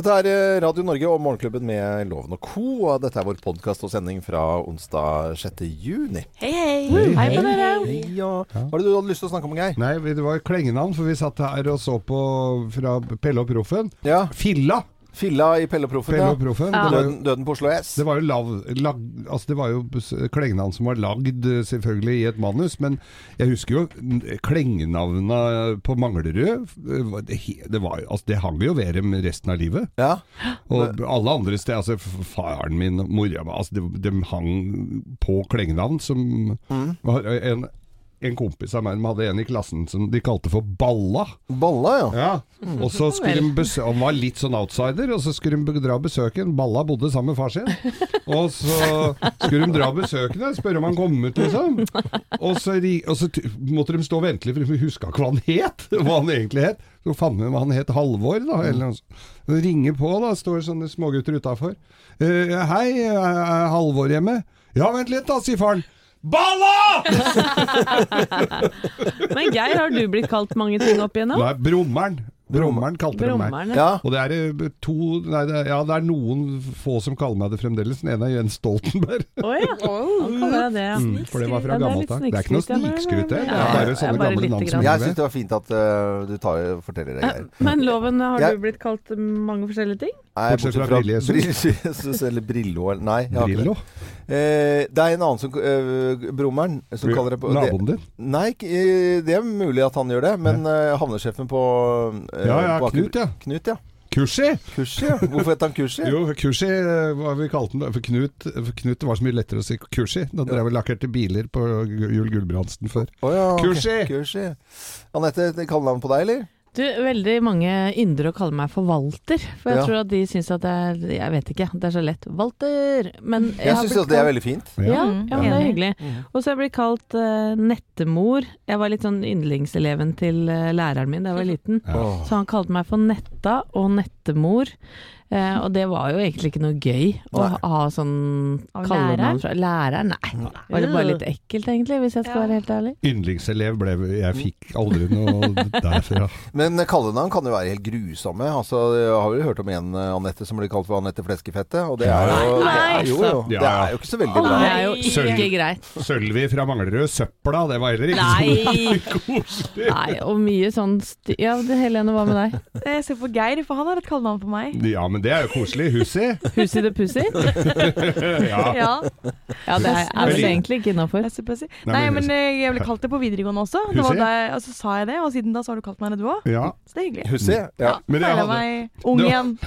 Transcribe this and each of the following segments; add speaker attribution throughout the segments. Speaker 1: Dette er eh, Radio Norge og Morgenklubben med Loven og co. Og dette er vår podkast og sending fra onsdag 6. juni.
Speaker 2: Hei, hei.
Speaker 3: Hei på dere.
Speaker 1: Hei, og... Hva er det du hadde lyst til å snakke om, Geir?
Speaker 3: Nei, vi- det var klengenavn, for vi satt her og så på fra Pelle og Proffen.
Speaker 1: Ja.
Speaker 3: Filla!
Speaker 1: Filla i Pelle og Proffen.
Speaker 3: Pelle
Speaker 1: ja.
Speaker 3: og Proffen. Det var jo,
Speaker 1: Døden, døden på Oslo S.
Speaker 3: det var jo, lav, lag, altså det var jo s- klengenavn som var lagd eh, selvfølgelig i et manus, men jeg husker jo n- klengenavna på Manglerud. eh, var- Det, he- det, var, jo- altså det hang jo ved dem resten av livet.
Speaker 1: Ja.
Speaker 3: Og alle andre steder, altså f- faren min og mora mi, altså de, de hang på klengenavn som
Speaker 1: Mm.
Speaker 3: var en, en kompis av meg som hadde en i klassen som de kalte for Balla.
Speaker 1: Balla, ja.
Speaker 3: Og så skulle de besø Han var litt sånn outsider, og så skulle de be- dra og besøke en. Balla bodde sammen med far sin. Og så skulle de dra og besøke henne, spørre om han kom ut, liksom. Og så, ri- og så t måtte de stå og vente litt, for de huska ikke hva han het. Hva han egentlig het. Så fant vi ut hva han het Halvor, da. Eller noe sånt. Så ringer på, da, står sånne smågutter utafor. Eh, hei, er Halvor hjemme? Ja, vent litt da, sier faren. Balla!
Speaker 4: Men Geir, har du blitt kalt mange ting opp igjennom?
Speaker 3: Nei, Brummeren. Brummeren kalte de meg.
Speaker 4: Brommerne.
Speaker 1: ja.
Speaker 3: Og det er, eh, to, nei, det, er- ja, det er noen få som kaller meg det fremdeles. Den ene er Jens Stoltenberg.
Speaker 4: Å ja. Han kaller deg det, ja.
Speaker 1: Mm.
Speaker 3: For det var fra
Speaker 4: Ja, det er
Speaker 3: gammelt
Speaker 4: litt
Speaker 3: av. Det er ikke noe
Speaker 4: snikskryt, ja, men-
Speaker 3: snikskryt, det. Det
Speaker 4: Ja,
Speaker 3: er bare
Speaker 4: ja,
Speaker 3: sånne
Speaker 4: bare
Speaker 3: gamle
Speaker 4: lite
Speaker 3: navn som
Speaker 4: grann.
Speaker 3: er
Speaker 1: Jeg
Speaker 3: med.
Speaker 1: syns det var fint at eh, du tar, forteller det, Geir.
Speaker 4: Men loven, har
Speaker 1: Jeg-
Speaker 4: du blitt kalt mange forskjellige ting?
Speaker 1: Nei,
Speaker 3: Bortsett fra Brille Jesus.
Speaker 1: Brille-Jesus eller Brillo eller Nei. jeg har ikke det.
Speaker 3: Drillo.
Speaker 1: Eh, det er en annen som eh, Brommeren som kaller det på det,
Speaker 3: Naboen din.
Speaker 1: Nei, ikke- eh, det er mulig at han gjør det, men eh, havnesjefen på eh,
Speaker 3: Ja, ja,
Speaker 1: på Aker-
Speaker 3: Knut, ja.
Speaker 1: Knut, ja.
Speaker 3: Kursi!
Speaker 1: Kursi, ja. Hvorfor heter han Kursi?
Speaker 3: Jo, Kursi eh, hva vi kalte den. da. For Knut, for Knut var så mye lettere å si Kursi. Da drev vi og lakkerte biler på Jul Gulbrandsen før.
Speaker 1: Å ja, ok.
Speaker 3: Kursi!
Speaker 1: Kursi. Anette, det kaller han på deg, eller?
Speaker 4: Du, veldig mange ynder å kalle meg forvalter. For jeg
Speaker 1: Ja.
Speaker 4: tror at de syns at det er Jeg vet ikke, det er så lett. Walter! Men jeg,
Speaker 1: Jeg
Speaker 4: har
Speaker 1: syns
Speaker 4: blitt
Speaker 1: at det er
Speaker 4: kalt-
Speaker 1: veldig fint.
Speaker 4: ja, ja,
Speaker 2: Mm,
Speaker 4: men det er
Speaker 2: enig.
Speaker 4: hyggelig. Og så er jeg blitt kalt eh, nettemor. Jeg var litt sånn yndlingseleven til eh, læreren min da jeg var liten.
Speaker 1: Åh.
Speaker 4: Så han kalte meg for Netta og Nettemor. Eh, og det var jo egentlig ikke noe gøy å
Speaker 1: Nei.
Speaker 4: ha sånn
Speaker 2: Av
Speaker 4: kallenavn
Speaker 2: læreren?
Speaker 4: fra læreren. Nei, var det bare litt ekkelt egentlig, hvis jeg skal
Speaker 2: Ja.
Speaker 4: være helt ærlig.
Speaker 3: Yndlingselev ble vi- Jeg fikk aldri noe derfra.
Speaker 1: Men kallenavn kan jo være helt grusomme. Altså, jeg har jo hørt om en eh, Anette som blir kalt for Anette Fleskefette, og det er jo, det
Speaker 4: Nei,
Speaker 1: er, jo, jo.
Speaker 3: Ja,
Speaker 1: Det
Speaker 3: ja.
Speaker 1: er jo ikke så veldig bra.
Speaker 4: Det er jo
Speaker 3: Sølv.
Speaker 4: ikke greit.
Speaker 3: Sølvi fra Manglerud. Søpla, det var heller ikke
Speaker 4: Nei.
Speaker 3: så koselig.
Speaker 4: Nei, og mye sånn sty Ja, det- Helene, hva med deg?
Speaker 2: Jeg ser på Geir, for han har et kallenavn på meg.
Speaker 3: Ja, men det er jo koselig. Hussi.
Speaker 4: Husi the Pussy?
Speaker 3: Ja.
Speaker 2: Ja,
Speaker 4: Ja, det er, er vel
Speaker 3: Veldig.
Speaker 4: egentlig ikke innafor.
Speaker 2: jeg ser på å si.
Speaker 3: Nei,
Speaker 2: Nei,
Speaker 3: men-
Speaker 2: men eh, jeg ble kalt det på videregående også. Det
Speaker 3: Husker
Speaker 2: var
Speaker 3: jeg?
Speaker 2: da jeg, og så sa jeg det, og siden da så har du kalt meg det du òg.
Speaker 3: ja.
Speaker 2: Så det er hyggelig.
Speaker 1: Hussi? Ja.
Speaker 3: Men jeg
Speaker 2: Føler
Speaker 3: hadde-
Speaker 2: meg ung
Speaker 3: Det-
Speaker 2: igjen.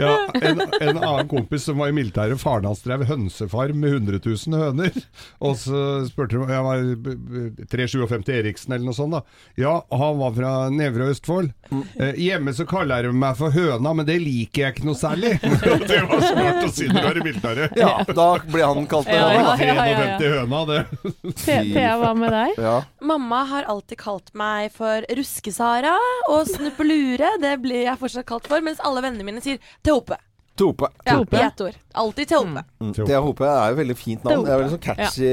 Speaker 3: Ja, en, en annen kompis som var i militæret, faren hans drev hønsefarm med 100 000 høner. Og så spurte de Jeg var b- b- 357 Eriksen eller noe sånt, da. Ja, han var fra Nevre og Østfold. Eh, hjemme så kaller de meg for høna, men det liker jeg ikke noe særlig. det var smart å si når du er i militæret.
Speaker 1: ja, da blir han kalt det.
Speaker 4: Ja, ja.
Speaker 3: 351 høna, det.
Speaker 4: Thea, Thea, hva med deg?
Speaker 1: Ja.
Speaker 5: Mamma har alltid kalt meg for Ruskesara og Snuppelure. Det blir jeg fortsatt kalt for. Mens alle vennene mine sier Teope.
Speaker 1: Tope.
Speaker 5: Ja,
Speaker 4: Teope.
Speaker 5: i ett ord. Alltid Teope.
Speaker 1: Mm. Thea Hope er jo et veldig fint navn. Det er veldig sånn catchy,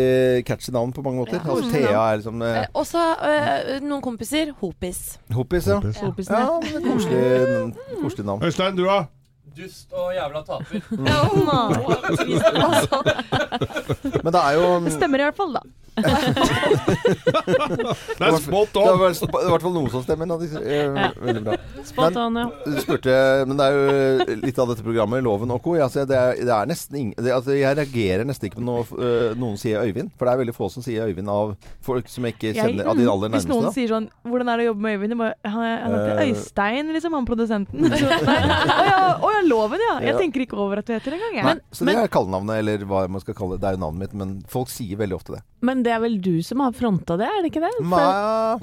Speaker 1: catchy navn på mange måter. Altså, Thea er liksom eh,
Speaker 5: Eh, Og så eh, noen kompiser Hopis.
Speaker 1: Hoppis, ja. Ja,
Speaker 4: Sopisene.
Speaker 1: men et koselig, koselig navn.
Speaker 3: Øystein, du da?
Speaker 6: Dust og jævla taper.
Speaker 5: Altså,
Speaker 1: Men det er jo
Speaker 2: Det stemmer i hvert fall, da.
Speaker 3: Det er spot
Speaker 1: det er
Speaker 3: on!
Speaker 1: vel sp- det er i hvert fall noe som stemmer. Da. De- eh, Veldig bra.
Speaker 4: Spot on, ja.
Speaker 1: Du spurte Men det er jo eh, litt av dette programmet, Loven og co. Altså, det, er- det er nesten ing- det, altså, Jeg reagerer nesten ikke når eh, noen sier Øyvind. For det er veldig få som sier Øyvind av folk som jeg ikke kjenner, av de aller
Speaker 2: Hvis
Speaker 1: nærmeste.
Speaker 2: noen
Speaker 1: da.
Speaker 2: sier sånn 'Hvordan er det å jobbe med Øyvind?' Jeg Bare, han er- han heter
Speaker 1: Eh.
Speaker 2: Øystein, liksom, han produsenten. Så, nei, Å ja, å ja, loven, ja. Jeg
Speaker 1: Ja.
Speaker 2: tenker ikke over at du heter det engang, jeg.
Speaker 1: Nei, så det er kallenavnet, eller hva man skal kalle det. Det er jo navnet mitt, men folk sier veldig ofte det.
Speaker 4: Men det er vel du som har fronta det, er det ikke det? For,
Speaker 1: Ma,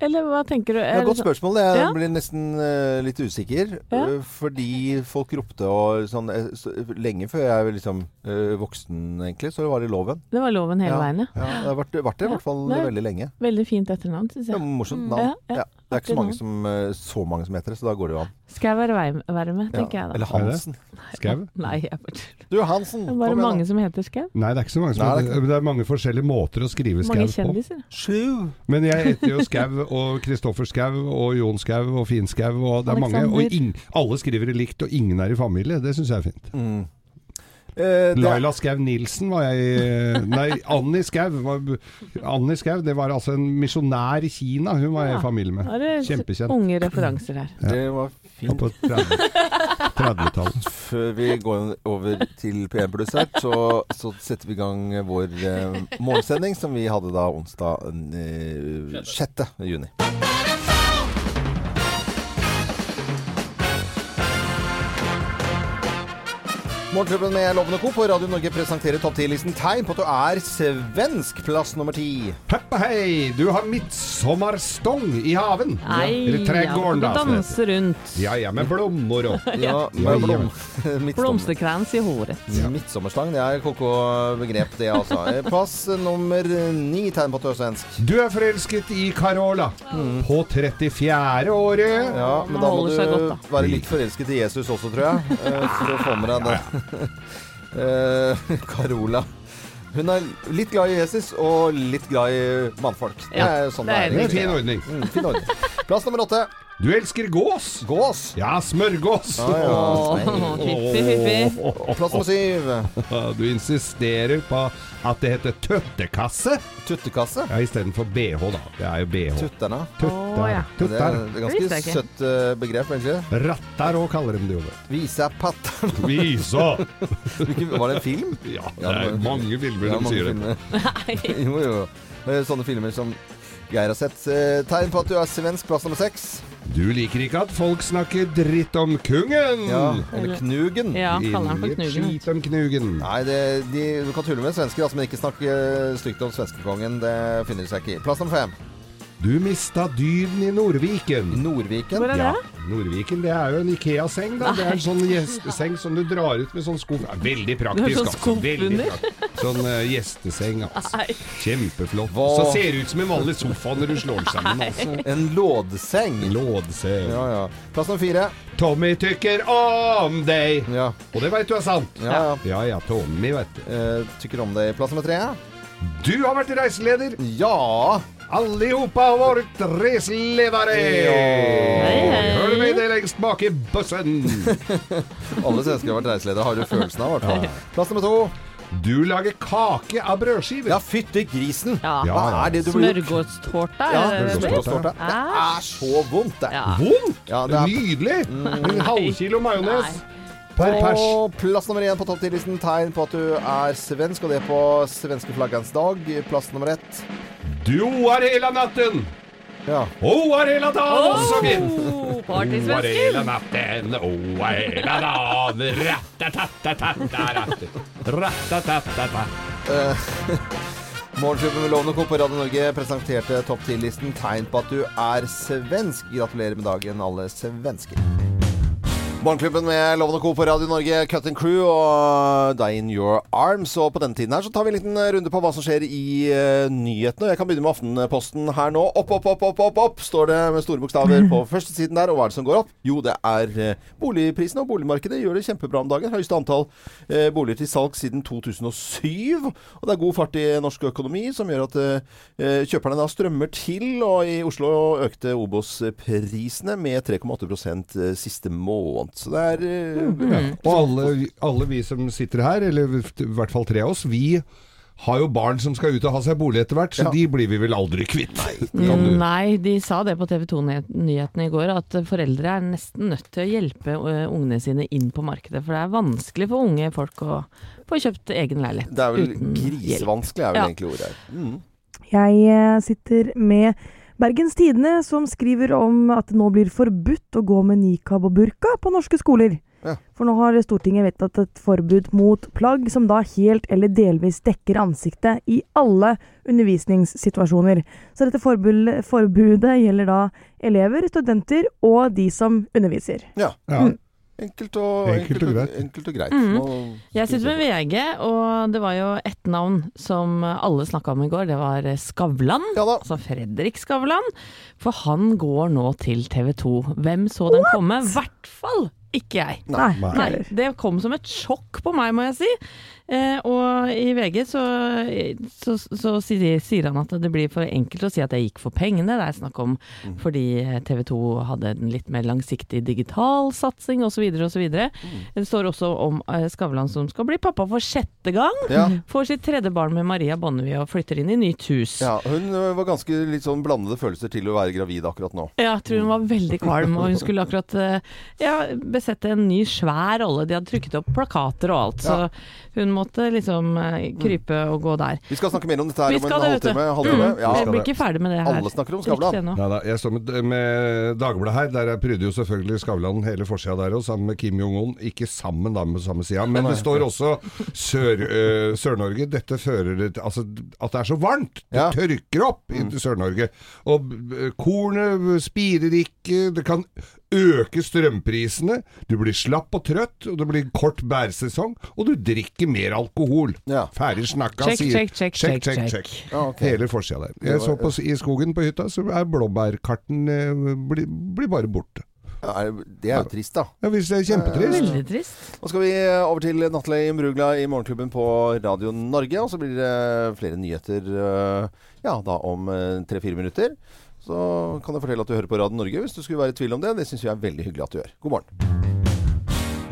Speaker 4: eller hva tenker du?
Speaker 1: det er
Speaker 4: Er
Speaker 1: et godt
Speaker 4: det sånn-
Speaker 1: spørsmål. Jeg
Speaker 4: Ja.
Speaker 1: blir nesten eh, litt usikker.
Speaker 4: Ja.
Speaker 1: eh, fordi folk ropte og sånn eh, så, Lenge før jeg var liksom eh, voksen, egentlig, så var det loven.
Speaker 4: Det var loven hele
Speaker 1: Ja.
Speaker 4: veien, ja.
Speaker 1: Ja, det har vært, vært det i
Speaker 4: Ja.
Speaker 1: hvert fall
Speaker 4: Nei.
Speaker 1: veldig lenge.
Speaker 4: Veldig fint etternavn,
Speaker 1: Det
Speaker 4: syns jeg.
Speaker 1: er morsomt
Speaker 4: Ja,
Speaker 1: navn.
Speaker 4: ja.
Speaker 1: Ja. Det er ikke så mange som, eh, så mange som heter det, så da går det jo an.
Speaker 4: Skal jeg være, vei- være med,
Speaker 1: Ja.
Speaker 4: tenker jeg da.
Speaker 1: Eller Hansen.
Speaker 3: Skau? Oh,
Speaker 4: Nei, jeg bare tuller.
Speaker 1: Du, Hansen!
Speaker 4: Det er bare mange som heter Skau.
Speaker 3: Nei, det er ikke så mange som
Speaker 1: Nei, det er
Speaker 3: det, er, det er mange forskjellige måter å skrive
Speaker 4: Mange
Speaker 3: skau på.
Speaker 4: kjendiser.
Speaker 1: Sju!
Speaker 3: Men jeg heter jo Skau og Kristoffer Skau og Jon Skau og Finn Skau og det er mange.
Speaker 2: Alexander.
Speaker 3: Og ing, alle skriver det likt, og ingen er i familie. Det syns jeg er fint.
Speaker 1: Mm. Eh, det,
Speaker 3: Laila Skau Nilsen var jeg Nei, Annie Skau. var- Annie Skau, det var altså en misjonær i Kina hun var jeg i
Speaker 4: Ja.
Speaker 3: familie med.
Speaker 4: Da er det
Speaker 3: Kjempekjent.
Speaker 4: unge referanser her.
Speaker 1: det var
Speaker 3: Ja,
Speaker 1: fint.
Speaker 3: På 30 30-tallet.
Speaker 1: Før vi går over til P1 Pluss her, så, så setter vi i gang vår eh, morgensending, som vi hadde da onsdag eh, 6. juni. Morgenklubben med Loven og Co. på Radio Norge presenterer topp 10-listen tegn på at du er svensk. Plass nummer ti.
Speaker 3: Peppa hei, du har midtsommerstong i haven.
Speaker 4: Nei,
Speaker 3: Eller trädgården, da.
Speaker 4: ja,
Speaker 3: som det heter.
Speaker 4: danse rundt.
Speaker 3: Ja, ja, med blommor og
Speaker 1: Ja,
Speaker 3: ja,
Speaker 1: med
Speaker 3: ja.
Speaker 1: blom. Midtsom-
Speaker 4: Blomsterkrans i håret.
Speaker 1: Midtsommerstang. Det er koko begrep, det altså. Eh, Plass nummer ni tegn på at du er svensk.
Speaker 3: Du er forelsket i Carola på 34. året.
Speaker 1: Ja, men
Speaker 4: Man
Speaker 1: da må du
Speaker 4: holder seg godt,
Speaker 1: være litt forelsket i Jesus også, tror jeg. eh, For å få med deg det. Eh, Carola. Hun er litt glad i Jesus og litt glad i mannfolk. Det
Speaker 4: Ja,
Speaker 1: er jo sånn
Speaker 4: det er
Speaker 1: det er.
Speaker 3: Det er en
Speaker 1: egentlig.
Speaker 3: fin ordning.
Speaker 1: Mm, fin ordning. Plass nummer åtte.
Speaker 3: Du elsker gås.
Speaker 1: Gås.
Speaker 3: Ja, smørgås.
Speaker 1: Ja, ja.
Speaker 4: Åh, Fiffi, fiffi.
Speaker 1: Og plass nummer syv.
Speaker 3: Åh, Du insisterer på at det heter tøttekasse.
Speaker 1: Tuttekasse.
Speaker 3: Ja, istedenfor bh, da. Det er jo bh.
Speaker 1: Tutterne.
Speaker 3: Tuttar.
Speaker 4: Åh, ja.
Speaker 1: Det er
Speaker 3: Tuttar.
Speaker 1: et
Speaker 4: Det visste
Speaker 1: ganske
Speaker 4: jeg ikke.
Speaker 1: søtt eh, begrep, egentlig.
Speaker 3: Rattar òg kaller de det jo.
Speaker 1: Vise er pattern.
Speaker 3: Visa!
Speaker 1: Var det en film?
Speaker 3: Ja, det er mange filmer
Speaker 1: Ja,
Speaker 3: som
Speaker 1: mange
Speaker 3: sier det.
Speaker 1: filmer. jo, jo. Eh, Sånne filmer som Geir har sett. Eh, Tegn på at du er svensk, plass nummer seks.
Speaker 3: Du liker ikke at folk snakker dritt om kungen.
Speaker 1: Ja, eller Knugen.
Speaker 4: Ja, kaller han for
Speaker 3: Inget
Speaker 4: Knugen.
Speaker 3: Skit om knugen.
Speaker 1: Nei, det, de, du kan tulle med svensker, altså, men ikke snakk eh, stygt om svenskekongen. Det finner de seg ikke i. Plass nummer fem.
Speaker 3: Du mista dyden i Nordviken.
Speaker 1: Nordviken.
Speaker 4: Hvor er det?
Speaker 3: Nordviken det er jo en Ikea-seng. da. Det er en sånn gjesteseng som du drar ut med sånn skuff. Ja, veldig
Speaker 4: Det
Speaker 3: praktisk. altså.
Speaker 4: er sånn skuff
Speaker 3: Veldig
Speaker 4: under.
Speaker 3: praktisk. Sånn eh, gjesteseng. Altså.
Speaker 4: Nei.
Speaker 3: Kjempeflott.
Speaker 1: Hva?
Speaker 3: Så ser det ut som en vanlig sofa når du slår den sammen. Altså.
Speaker 1: En lådseng.
Speaker 3: Lådseng.
Speaker 1: Ja, ja. Plass nummer fire.
Speaker 3: Tommy tykker om deg.
Speaker 1: Ja,
Speaker 3: Og det veit du er sant.
Speaker 1: ja. ja.
Speaker 3: Ja ja, Tommy, veit du.
Speaker 1: Eh, tykker om det. Plass nummer tre.
Speaker 3: Du har vært reiseleder.
Speaker 1: Ja.
Speaker 3: Allihopa har vært reiseledere!
Speaker 1: Hei,
Speaker 4: hei.
Speaker 3: Hør med det lengst bak i bussen!
Speaker 1: Alle svensker har vært reiseledere, har du følelsen av, i hvert fall. Plass nummer to.
Speaker 3: Du lager kake av brødskiver.
Speaker 1: Ja, fytti grisen!
Speaker 4: Ja.
Speaker 1: Hva er det du blir gjort?
Speaker 4: Smørgåstårta?
Speaker 1: Ja,
Speaker 4: er det det
Speaker 3: smørgåstårta.
Speaker 1: smørgåstårta.
Speaker 4: heter?
Speaker 1: Det er så vondt, det.
Speaker 4: Ja.
Speaker 3: Vondt!
Speaker 1: Ja, det er
Speaker 3: Nydelig! En halvkilo majones per pers.
Speaker 1: Og plass nummer én på topp 10-listen tegn på at du er svensk, og det er på svenske flaggens dag. Plass nummer ett.
Speaker 3: Du oar hela natten!
Speaker 1: Ja.
Speaker 3: Oar hela dagen!
Speaker 4: Åh,
Speaker 3: så fint. Oar
Speaker 4: Partysvensken!
Speaker 3: hela natten, oar hela dagen. Rattatatatatataratt. Rattatatata.
Speaker 1: Morgenklubben med Lovende Co. på Radio Norge presenterte topp 10-listen tegn på at du er svensk. Gratulerer med dagen, alle svensker. Morgenklubben med Lovende Co. på Radio Norge, Cut and Crew og Die in Your Arms. Og på denne tiden her så tar vi en liten runde på hva som skjer i eh, nyhetene. Og Jeg kan begynne med Aftenposten her nå. Opp, opp, opp, opp, opp, opp står det med store bokstaver på første siden der. Og hva er det som går opp? Jo, det er eh, boligprisene og boligmarkedet gjør det kjempebra om dagen. Høyeste antall eh, boliger til salg siden 2007. Og det er god fart i norsk økonomi, som gjør at eh, kjøperne da strømmer til. Og i Oslo økte Obos-prisene med 3,8 eh, siste måned. Så det er eh,
Speaker 4: Mm.
Speaker 3: Og alle, alle vi som sitter her, eller i hvert fall tre av oss, vi har jo barn som skal ut og ha seg bolig etter hvert, så
Speaker 1: Ja.
Speaker 3: de blir vi vel aldri kvitt. Kan du-
Speaker 4: Mm, Nei, de sa det på TV 2-nyhetene i går, at foreldre er nesten nødt til å hjelpe ø, ungene sine inn på markedet. For det er vanskelig for unge folk å få kjøpt egen leilighet
Speaker 1: Det er vel
Speaker 4: uten hjelp.
Speaker 1: grisevanskelig, er vel
Speaker 4: Ja.
Speaker 1: egentlig ordet her. Mm.
Speaker 7: Jeg eh, sitter med Bergens Tidende, som skriver om at det nå blir forbudt å gå med nikab og burka på norske skoler.
Speaker 1: Ja.
Speaker 7: For nå har Stortinget vedtatt et forbud mot plagg som da helt eller delvis dekker ansiktet i alle undervisningssituasjoner. Så dette forbud, forbudet gjelder da elever, studenter og de som underviser.
Speaker 1: Ja.
Speaker 3: Ja.
Speaker 1: Enkelt og,
Speaker 3: Enkelt og greit.
Speaker 1: Enkelt og greit.
Speaker 4: Mm.
Speaker 1: Nå-
Speaker 4: Jeg sitter med VG, og det var jo ett navn som alle snakka om i går. Det var Skavlan.
Speaker 1: Ja da.
Speaker 4: Altså Fredrik Skavlan. For han går nå til TV 2. Hvem så den komme? I hvert fall ikke jeg.
Speaker 7: Nei.
Speaker 3: Nei.
Speaker 7: ikke
Speaker 4: Nei,
Speaker 7: heller.
Speaker 4: det kom som et sjokk på meg, må jeg si. Eh, og i VG så, så, så sier, sier han at det blir for enkelt å si at jeg gikk for pengene. Det er snakk om
Speaker 1: Mm.
Speaker 4: fordi TV 2 hadde en litt mer langsiktig digital satsing osv. osv.
Speaker 1: Mm.
Speaker 4: Det står også om eh, Skavlan som skal bli pappa for sjette gang.
Speaker 1: Ja.
Speaker 4: Får sitt tredje barn med Maria Bonnevie og flytter inn i nytt hus.
Speaker 1: Ja, hun ø, var ganske litt sånn blandede følelser til å være gravid akkurat nå.
Speaker 4: Ja, jeg tror hun var veldig kvalm, og hun skulle akkurat eh, ja, besette en ny svær rolle. De hadde trykket opp plakater og alt, så
Speaker 1: Ja.
Speaker 4: hun måtte liksom eh, krype og gå der.
Speaker 1: Vi skal snakke mer om dette her
Speaker 4: Vi
Speaker 1: om en
Speaker 4: skal det, vet du.
Speaker 1: halvtime. halvtime.
Speaker 4: Mm.
Speaker 1: Ja.
Speaker 4: jeg blir ikke ferdig med det her.
Speaker 1: Alle snakker om
Speaker 4: Riktig
Speaker 1: Skavlan.
Speaker 4: ennå.
Speaker 3: Nei, nei, jeg står med, med Dagbladet her. Der jeg prydde jo selvfølgelig Skavlan hele forsida der òg, sammen med Kim Jong-un. Ikke sammen, da, med samme sida. Men det står også Sør, eh, Sør-Norge. Dette fører det til altså, at det er så varmt! Det
Speaker 1: Ja.
Speaker 3: tørker opp i
Speaker 4: Mm.
Speaker 3: Sør-Norge. Og eh, kornet spirer ikke, det kan øke strømprisene. Du blir slapp og trøtt, og det blir kort bæresesong. Og du drikker mer alkohol.
Speaker 1: Ja.
Speaker 3: Ferdig snakka,
Speaker 4: Check,
Speaker 3: sier
Speaker 4: check, check,
Speaker 3: Check,
Speaker 4: check,
Speaker 3: check,
Speaker 4: check.
Speaker 3: check.
Speaker 1: Ja, ok.
Speaker 3: Hele forsida der.
Speaker 1: var-
Speaker 3: Jeg så på, s- I skogen på hytta så er blåbærkarten eh, blir blir bare borte.
Speaker 1: Ja, er- det er jo trist, da.
Speaker 3: Ja, hvis det er kjempetrist.
Speaker 4: Veldig trist.
Speaker 1: Nå skal vi eh, over til Nathalie Imbrugla i Morgenklubben på Radio Norge. Og så blir det flere nyheter eh, ja, da om eh, tre-fire minutter. Så kan jeg fortelle at du hører på Radio Norge hvis du skulle være i tvil om det. Det syns jeg er veldig hyggelig at du gjør. God morgen.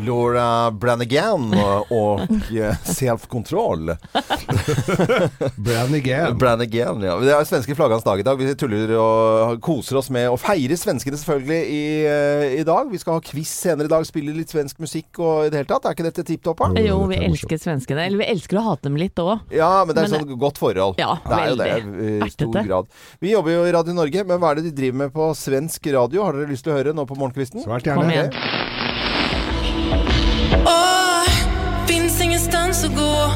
Speaker 1: Laura Branigan og eh, Self Control. Eh.
Speaker 3: Brand again.
Speaker 1: Branigan, ja. Det er svenske flaggans dag i dag. Vi tuller og koser oss med å feire svenskene selvfølgelig i, eh, i dag. Vi skal ha quiz senere i dag, spille litt svensk musikk og i det hele tatt. Er ikke dette tipp topp? da?
Speaker 3: Jo, dette
Speaker 4: Jo, vi
Speaker 3: er morsomt.
Speaker 4: elsker svenskene. Eller vi elsker å hate dem litt òg.
Speaker 1: Ja, men det er
Speaker 4: Men eh,
Speaker 1: sånn godt forhold.
Speaker 4: Ja,
Speaker 1: det er jo det.
Speaker 4: veldig.
Speaker 1: eh, I
Speaker 4: Verdt
Speaker 1: stor
Speaker 4: det.
Speaker 1: grad. Vi jobber jo i Radio Norge, men hva er det de driver med på svensk radio? Har dere lyst til å høre nå på morgenkvisten?
Speaker 3: Svært
Speaker 4: Kom
Speaker 3: gjerne.
Speaker 4: igjen.
Speaker 8: Åh, finns ingenstans att gå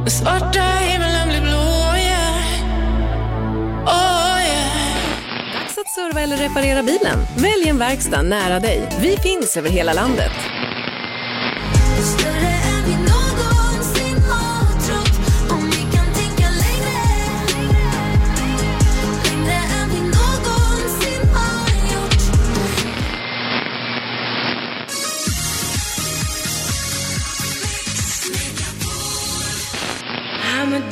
Speaker 8: Den svarta himmelen blir blå, yeah Åh, yeah
Speaker 9: Dags att serva eller reparera bilen? Välj en verkstad nära dig. Vi finns över hela landet.
Speaker 8: Större än vi någonsin har trott Om vi kan tänka längre Längre än vi någonsin har gjort I'm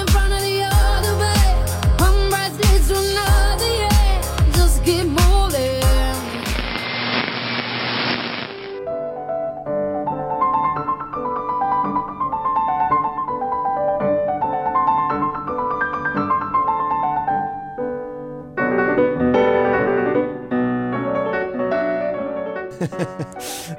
Speaker 8: in front of the other way. One bright leads to another, yeah. Just keep moving.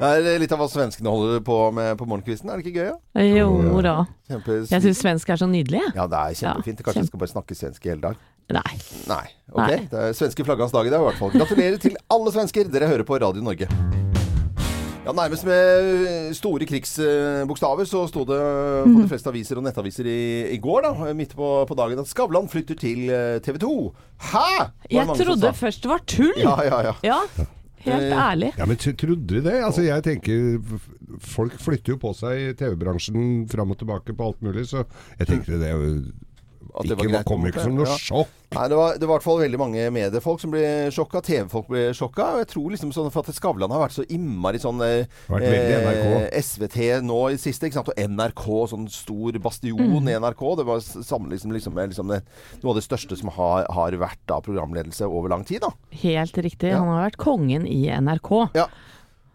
Speaker 1: Det er eh, litt av hva svenskene holder på med på morgenkvisten. Er det ikke gøy? Ja?
Speaker 4: Jo da.
Speaker 1: Kjempe-
Speaker 4: Jeg syns svensk er så nydelig. jeg.
Speaker 1: Ja, det er kjempefint. Kanskje
Speaker 4: Ja, kjempe-
Speaker 1: vi skal bare snakke svensk i hele dag.
Speaker 4: Nei.
Speaker 1: Nei. Ok,
Speaker 4: Nei.
Speaker 1: det er svenske flaggans dag i dag i hvert fall. Gratulerer til alle svensker. Dere hører på Radio Norge. Ja, Nærmest med store krigsbokstaver så sto det på
Speaker 4: Mhm.
Speaker 1: de fleste aviser og nettaviser i, i går, da, midt på, på dagen, at Skavlan flytter til eh, TV 2. Hæ?! var det
Speaker 4: Jeg
Speaker 1: mange som
Speaker 4: trodde
Speaker 1: sa.
Speaker 4: først det var tull!
Speaker 1: Ja, ja, ja.
Speaker 4: Ja, helt
Speaker 1: Eh,
Speaker 4: ærlig.
Speaker 3: Ja, men t- trodde du det? Altså, jeg tenker f- Folk flytter jo på seg i TV-bransjen fram og tilbake på alt mulig, så jeg tenker det er jo
Speaker 1: At det var greit,
Speaker 3: ikke,
Speaker 1: på en
Speaker 3: kommer
Speaker 1: måte.
Speaker 3: ikke som noe
Speaker 1: Ja.
Speaker 3: sjokk.
Speaker 1: Nei, det var, det var i hvert fall veldig mange mediefolk som ble sjokka. TV-folk ble sjokka. Og jeg tror liksom sånn for at Skavlan har vært så innmari sånn eh,
Speaker 3: Vært veldig
Speaker 1: eh,
Speaker 3: NRK.
Speaker 1: SVT nå i siste. ikke sant? Og NRK, sånn stor bastion i NRK. Det var samlet liksom, liksom, med liksom det, noe av det største som har, har vært da programledelse over lang tid. da.
Speaker 4: Helt riktig.
Speaker 1: Ja.
Speaker 4: Han har vært kongen i NRK.
Speaker 1: Ja.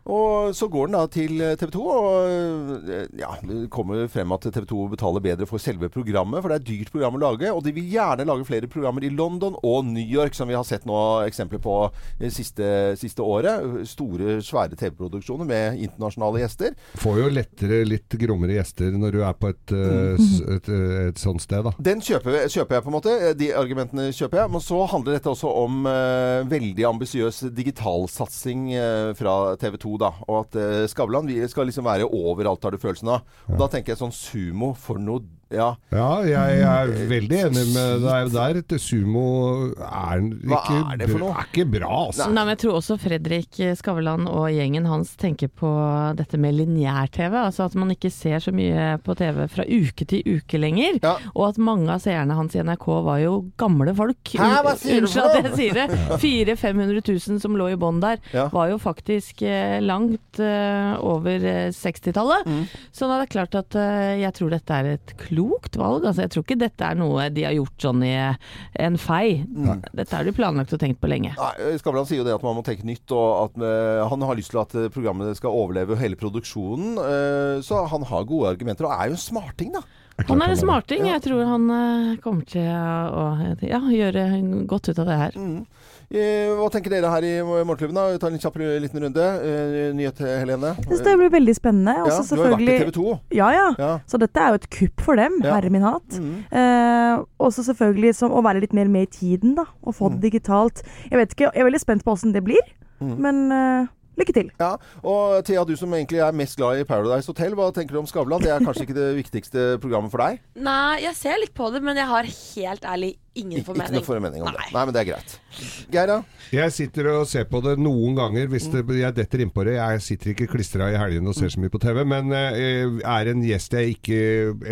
Speaker 1: Og så går den da til eh, TV 2, og eh, ja, det kommer frem at TV 2 betaler bedre for selve programmet, for det er et dyrt program å lage, og de vil gjerne lage flere programmer i London og New York, som vi har sett nå eksempler på eh, siste, siste året. Store, svære TV-produksjoner med internasjonale gjester.
Speaker 3: Får jo lettere litt grommere gjester når du er på et, eh, s- et, eh, et sånt sted, da.
Speaker 1: Den kjøper, kjøper jeg, på en måte. Eh, De argumentene kjøper jeg. Men så handler dette også om eh, veldig ambisiøs digitalsatsing eh, fra TV 2 to, da. Og at eh, Skavlan vi skal liksom være overalt, har du følelsen av. Og Da tenker jeg sånn sumo for noe Ja.
Speaker 3: Ja, jeg er veldig enig med deg der. Et Sumo er
Speaker 1: Hva
Speaker 3: ikke,
Speaker 1: er det for noe?
Speaker 3: Er ikke bra, altså.
Speaker 4: Nei, men jeg tror også Fredrik Skavlan og gjengen hans tenker på dette med lineær-TV. Altså at man ikke ser så mye på TV fra uke til uke lenger.
Speaker 1: Ja.
Speaker 4: Og at mange av seerne hans i NRK var jo gamle folk.
Speaker 1: Hæ, hva sier du for
Speaker 4: Unnskyld at
Speaker 1: noe?
Speaker 4: jeg sier det. 400 500 000 som lå i bånn der,
Speaker 1: Ja.
Speaker 4: var jo faktisk eh, langt eh, over eh, 60-tallet.
Speaker 1: Mm.
Speaker 4: Så det er klart at eh, jeg tror dette er et klokt valg. Altså, jeg tror ikke dette er noe de har gjort sånn i en fei. Dette har de planlagt og tenkt på lenge.
Speaker 1: Nei, eh, Skavlan sier jo det at man må tenke nytt, og at eh, han har lyst til at eh, programmet skal overleve hele produksjonen. eh, så han har gode argumenter, og er jo en smarting, da.
Speaker 4: Han er en smarting. Jeg tror han eh, kommer til å ja, gjøre godt ut av det
Speaker 1: Mm.
Speaker 4: her.
Speaker 1: Eh, hva tenker dere her i Morgenklubben? da? Vi tar en kjapp liten runde. Eh, nyhet, Helene?
Speaker 7: Jeg synes det blir veldig spennende.
Speaker 1: ja,
Speaker 7: Også
Speaker 1: du har jo vært i TV
Speaker 7: selvfølgelig
Speaker 1: 2.
Speaker 7: Ja, ja.
Speaker 1: Ja.
Speaker 7: Så dette er jo et kupp for dem,
Speaker 1: Ja.
Speaker 7: herre min hatt. Eh, også selvfølgelig som, å være litt mer med i tiden, da. Og få det digitalt. Jeg vet ikke, jeg er veldig spent på åssen det blir, men eh, lykke til.
Speaker 1: Ja, og Thea, du som egentlig er mest glad i Paradise Hotel, hva tenker du om Skavlan? Det er kanskje ikke det viktigste programmet for deg?
Speaker 5: Nei, jeg ser litt på det, men jeg har helt ærlig ingen
Speaker 1: Ikke
Speaker 5: formening.
Speaker 1: noe formening om det.
Speaker 5: Nei.
Speaker 1: Nei, men det er greit. Geir, da?
Speaker 3: Jeg sitter og ser på det noen ganger hvis det, jeg detter innpå det. Jeg sitter ikke klistra i helgene og ser så mye på TV, men eh, er en gjest jeg ikke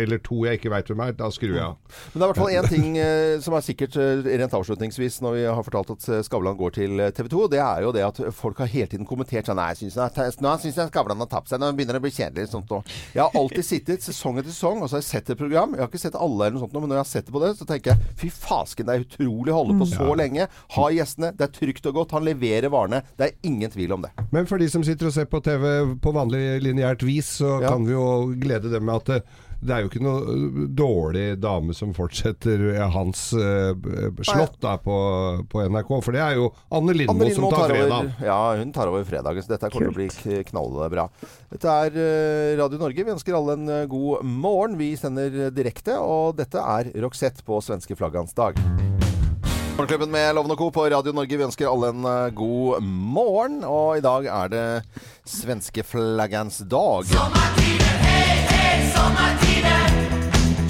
Speaker 3: Eller to jeg ikke veit hvem er, da skrur jeg av.
Speaker 1: Men det er i hvert fall én ting eh, som er sikkert eh, rent avslutningsvis når vi har fortalt at eh, Skavlan går til TV 2. Det er jo det at folk har hele tiden kommentert sånn Nei, jeg synes jeg, nå syns jeg Skavlan har tapt seg. Nå begynner det å bli kjedelig. Sånt, og. Jeg har alltid sittet sesong etter sesong og så har jeg sett et program. Jeg har ikke sett alle, eller noe sånt, nå, men når jeg har sett det på det, så tenker jeg fy fasken, det er utrolig å holde på så lenge. Ha gjestene. Det er trygt og godt. Han leverer varene. Det er ingen tvil om det.
Speaker 3: Men for de som sitter og ser på TV på vanlig lineært vis, så
Speaker 1: Ja.
Speaker 3: kan vi jo glede dem med at det, det er jo ikke noe eh, dårlig dame som fortsetter eh, hans eh, b- slott da, på, på NRK, for det er jo Anne Lindmo,
Speaker 1: Anne
Speaker 3: som
Speaker 1: Lindmo
Speaker 3: tar fredag.
Speaker 1: over, ja, hun tar over fredagen, så dette kommer til å bli k- knallbra. Dette er eh, Radio Norge. Vi ønsker alle en eh, god morgen. Vi sender eh, direkte, og dette er Roxette på svenske flaggans dag. Morgenklubben med Loven og Co. på Radio Norge. Vi ønsker alle en eh, god morgen, og i dag er det svenske flaggans dag.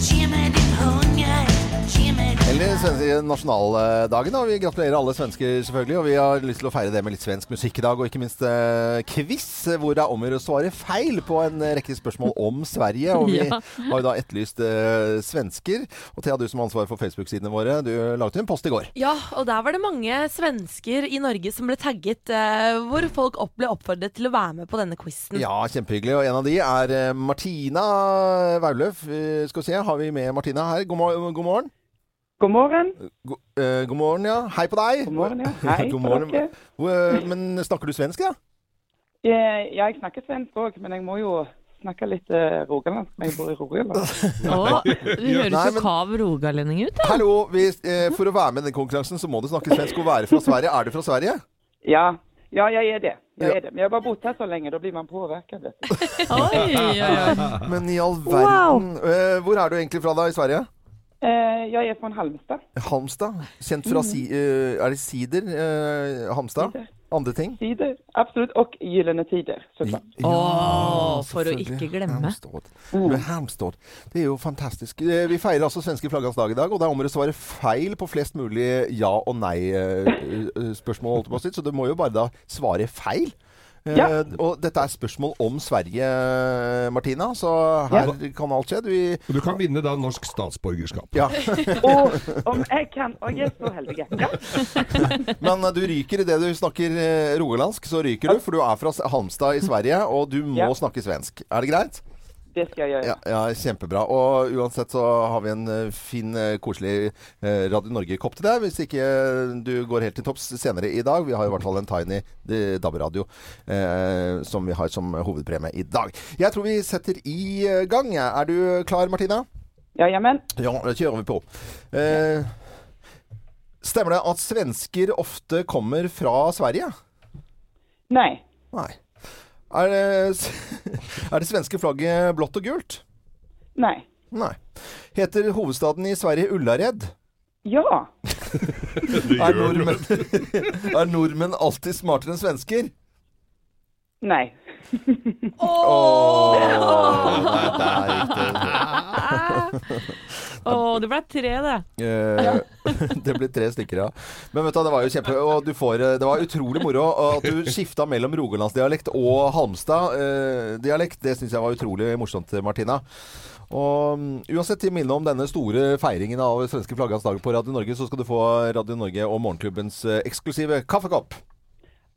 Speaker 8: Ge mig din hunger, ge mig din
Speaker 1: Eller svenske nasjonaldagen, og vi gratulerer alle svensker selvfølgelig. Og vi har lyst til å feire det med litt svensk musikk i dag, og ikke minst eh, quiz, hvor det er om å gjøre å svare feil på en rekke spørsmål om Sverige. Og vi
Speaker 4: Ja.
Speaker 1: har jo da etterlyst eh, svensker. Og Thea, du som har ansvar for Facebook-sidene våre, du laget jo en post i går.
Speaker 5: Ja, og der var det mange svensker i Norge som ble tagget, eh, hvor folk opp ble oppfordret til å være med på denne quizen.
Speaker 1: Ja, kjempehyggelig. Og en av de er eh, Martina Wauløf. Eh, Skal vi se, har vi med Martina her? God, mor god morgen.
Speaker 10: God morgen.
Speaker 1: God, eh, god morgen, ja. Hei på deg.
Speaker 10: God morgen, ja. Hei
Speaker 1: God
Speaker 10: på
Speaker 1: morgen.
Speaker 10: dere.
Speaker 1: Hvor- eh, Men snakker du svensk, ja?
Speaker 10: Eh, Ja, jeg snakker svensk òg, men jeg må jo snakke litt eh, rogalandsk. men Jeg bor i Rogaland.
Speaker 4: Å, du høres
Speaker 1: Nei,
Speaker 4: jo
Speaker 1: men-
Speaker 4: kav rogalending ut, da.
Speaker 1: Hallo, vi, eh, for å være med i den konkurransen så må du snakke svensk og være fra Sverige. Er du fra Sverige?
Speaker 10: Ja, ja jeg er det.
Speaker 1: Ja.
Speaker 10: Jeg er det. Men jeg har bare bodd her så lenge, da blir man påvirket. vet du.
Speaker 4: Oi, oi, oi.
Speaker 1: Men i all verden. Eh, hvor er du egentlig fra da i Sverige?
Speaker 10: Eh, Jeg er fra Halmstad.
Speaker 1: Halmstad. Kjent fra si, eh, Er det sider? eh, Hamstad? Andre ting?
Speaker 10: Tider, absolutt. Og Gyllene tider, så klart.
Speaker 4: Å, for å
Speaker 1: selvfølgelig.
Speaker 4: ikke glemme.
Speaker 1: Halmstad. Men Halmstad, det er jo fantastisk. Eh, Vi feirer altså svenske flaggans dag i dag, og det er om å svare feil på flest mulig ja- og nei-spørsmål, holdt jeg på å si, så du må jo bare da svare feil. Eh,
Speaker 10: Ja.
Speaker 1: Og dette er spørsmål om Sverige, Martina, så her kan alt skje. Vi
Speaker 3: Og du kan vinne da norsk statsborgerskap.
Speaker 1: ja.
Speaker 10: Og om jeg kan Og jeg er så heldig. Ja.
Speaker 1: Men eh, du ryker idet du snakker eh, rogalandsk, så ryker du, for du er fra S- Halmstad i Sverige, og du må
Speaker 10: Ja.
Speaker 1: snakke svensk. Er det greit?
Speaker 10: Det skal jeg gjøre.
Speaker 1: Ja, ja, kjempebra. Og uansett så har vi en eh, fin, eh, koselig eh, Radio Norge-kopp til deg, hvis ikke eh, du går helt til topps senere i dag. Vi har i hvert fall en Tiny eh, DAB-radio eh, som vi har som hovedpremie i dag. Jeg tror vi setter i eh, gang. jeg. Er du klar, Martina?
Speaker 10: Ja, jamen.
Speaker 1: Ja, det kjører vi på. Eh, stemmer det at svensker ofte kommer fra Sverige?
Speaker 10: Nei.
Speaker 1: Nei. Er det, er det svenske flagget blått og gult?
Speaker 10: Nei.
Speaker 1: Nei. Heter hovedstaden i Sverige Ullared?
Speaker 10: Ja.
Speaker 1: Er nordmenn, er nordmenn alltid smartere enn svensker?
Speaker 10: Nei.
Speaker 1: Der gikk det.
Speaker 4: Å, det ble tre, det.
Speaker 1: Eh, det blir tre stykker, ja. Men vet du, det var jo kjempe... Og du får, eh, det var utrolig moro at du skifta mellom rogalandsdialekt og Halmstad-dialekt. det syns jeg var utrolig morsomt, Martina. Og mm, uansett til minne om denne store feiringen av svenske flaggans dag på Radio Norge, så skal du få Radio Norge og Morgenklubbens eh, eksklusive kaffekopp.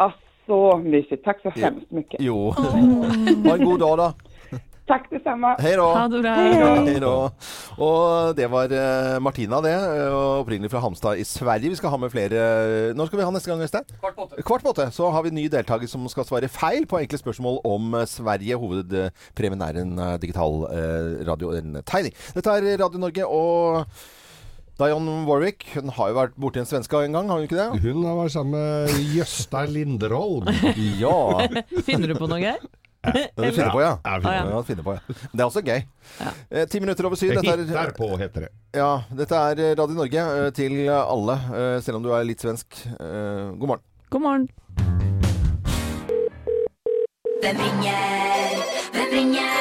Speaker 10: Ah, Så mysigt. Tack så hemskt mycket.
Speaker 1: Jo. Ha en god dag, da.
Speaker 10: Tack detsamma.
Speaker 1: Hei da.
Speaker 10: Ha det bra.
Speaker 1: Hei da. Og det var eh, Martina, det. eh, og Opprinnelig fra Hamstad i Sverige. Vi skal ha med flere eh, Når skal vi ha neste gang, Øystein? Kvart på åtte. Så har vi ny deltaker som skal svare feil på enkle spørsmål om eh, Sverige. Hovedpremien er en eh, digital eh, radio, en tegning. Dette er Radio Norge og Dion Warwick, hun har jo vært borti en svenske en gang, har hun ikke det?
Speaker 3: Hun har vært sammen med Jøstein Linderholm.
Speaker 1: Ja.
Speaker 4: Finner du på noe, Geir?
Speaker 1: Ja, du finner på, ja.
Speaker 3: Ja, jeg
Speaker 1: ja,
Speaker 3: finner på.
Speaker 1: du finner på, ja. Men Det er også gøy. Eh, Ti minutter over syv.
Speaker 3: Jeg
Speaker 1: Dette
Speaker 3: hittar
Speaker 1: er,
Speaker 3: på, heter det.
Speaker 1: ja, dette er Radio Norge eh, til alle, eh, selv om du er litt svensk. Eh, God morgen.
Speaker 4: God morgen.
Speaker 8: Hvem ringer? Hvem ringer?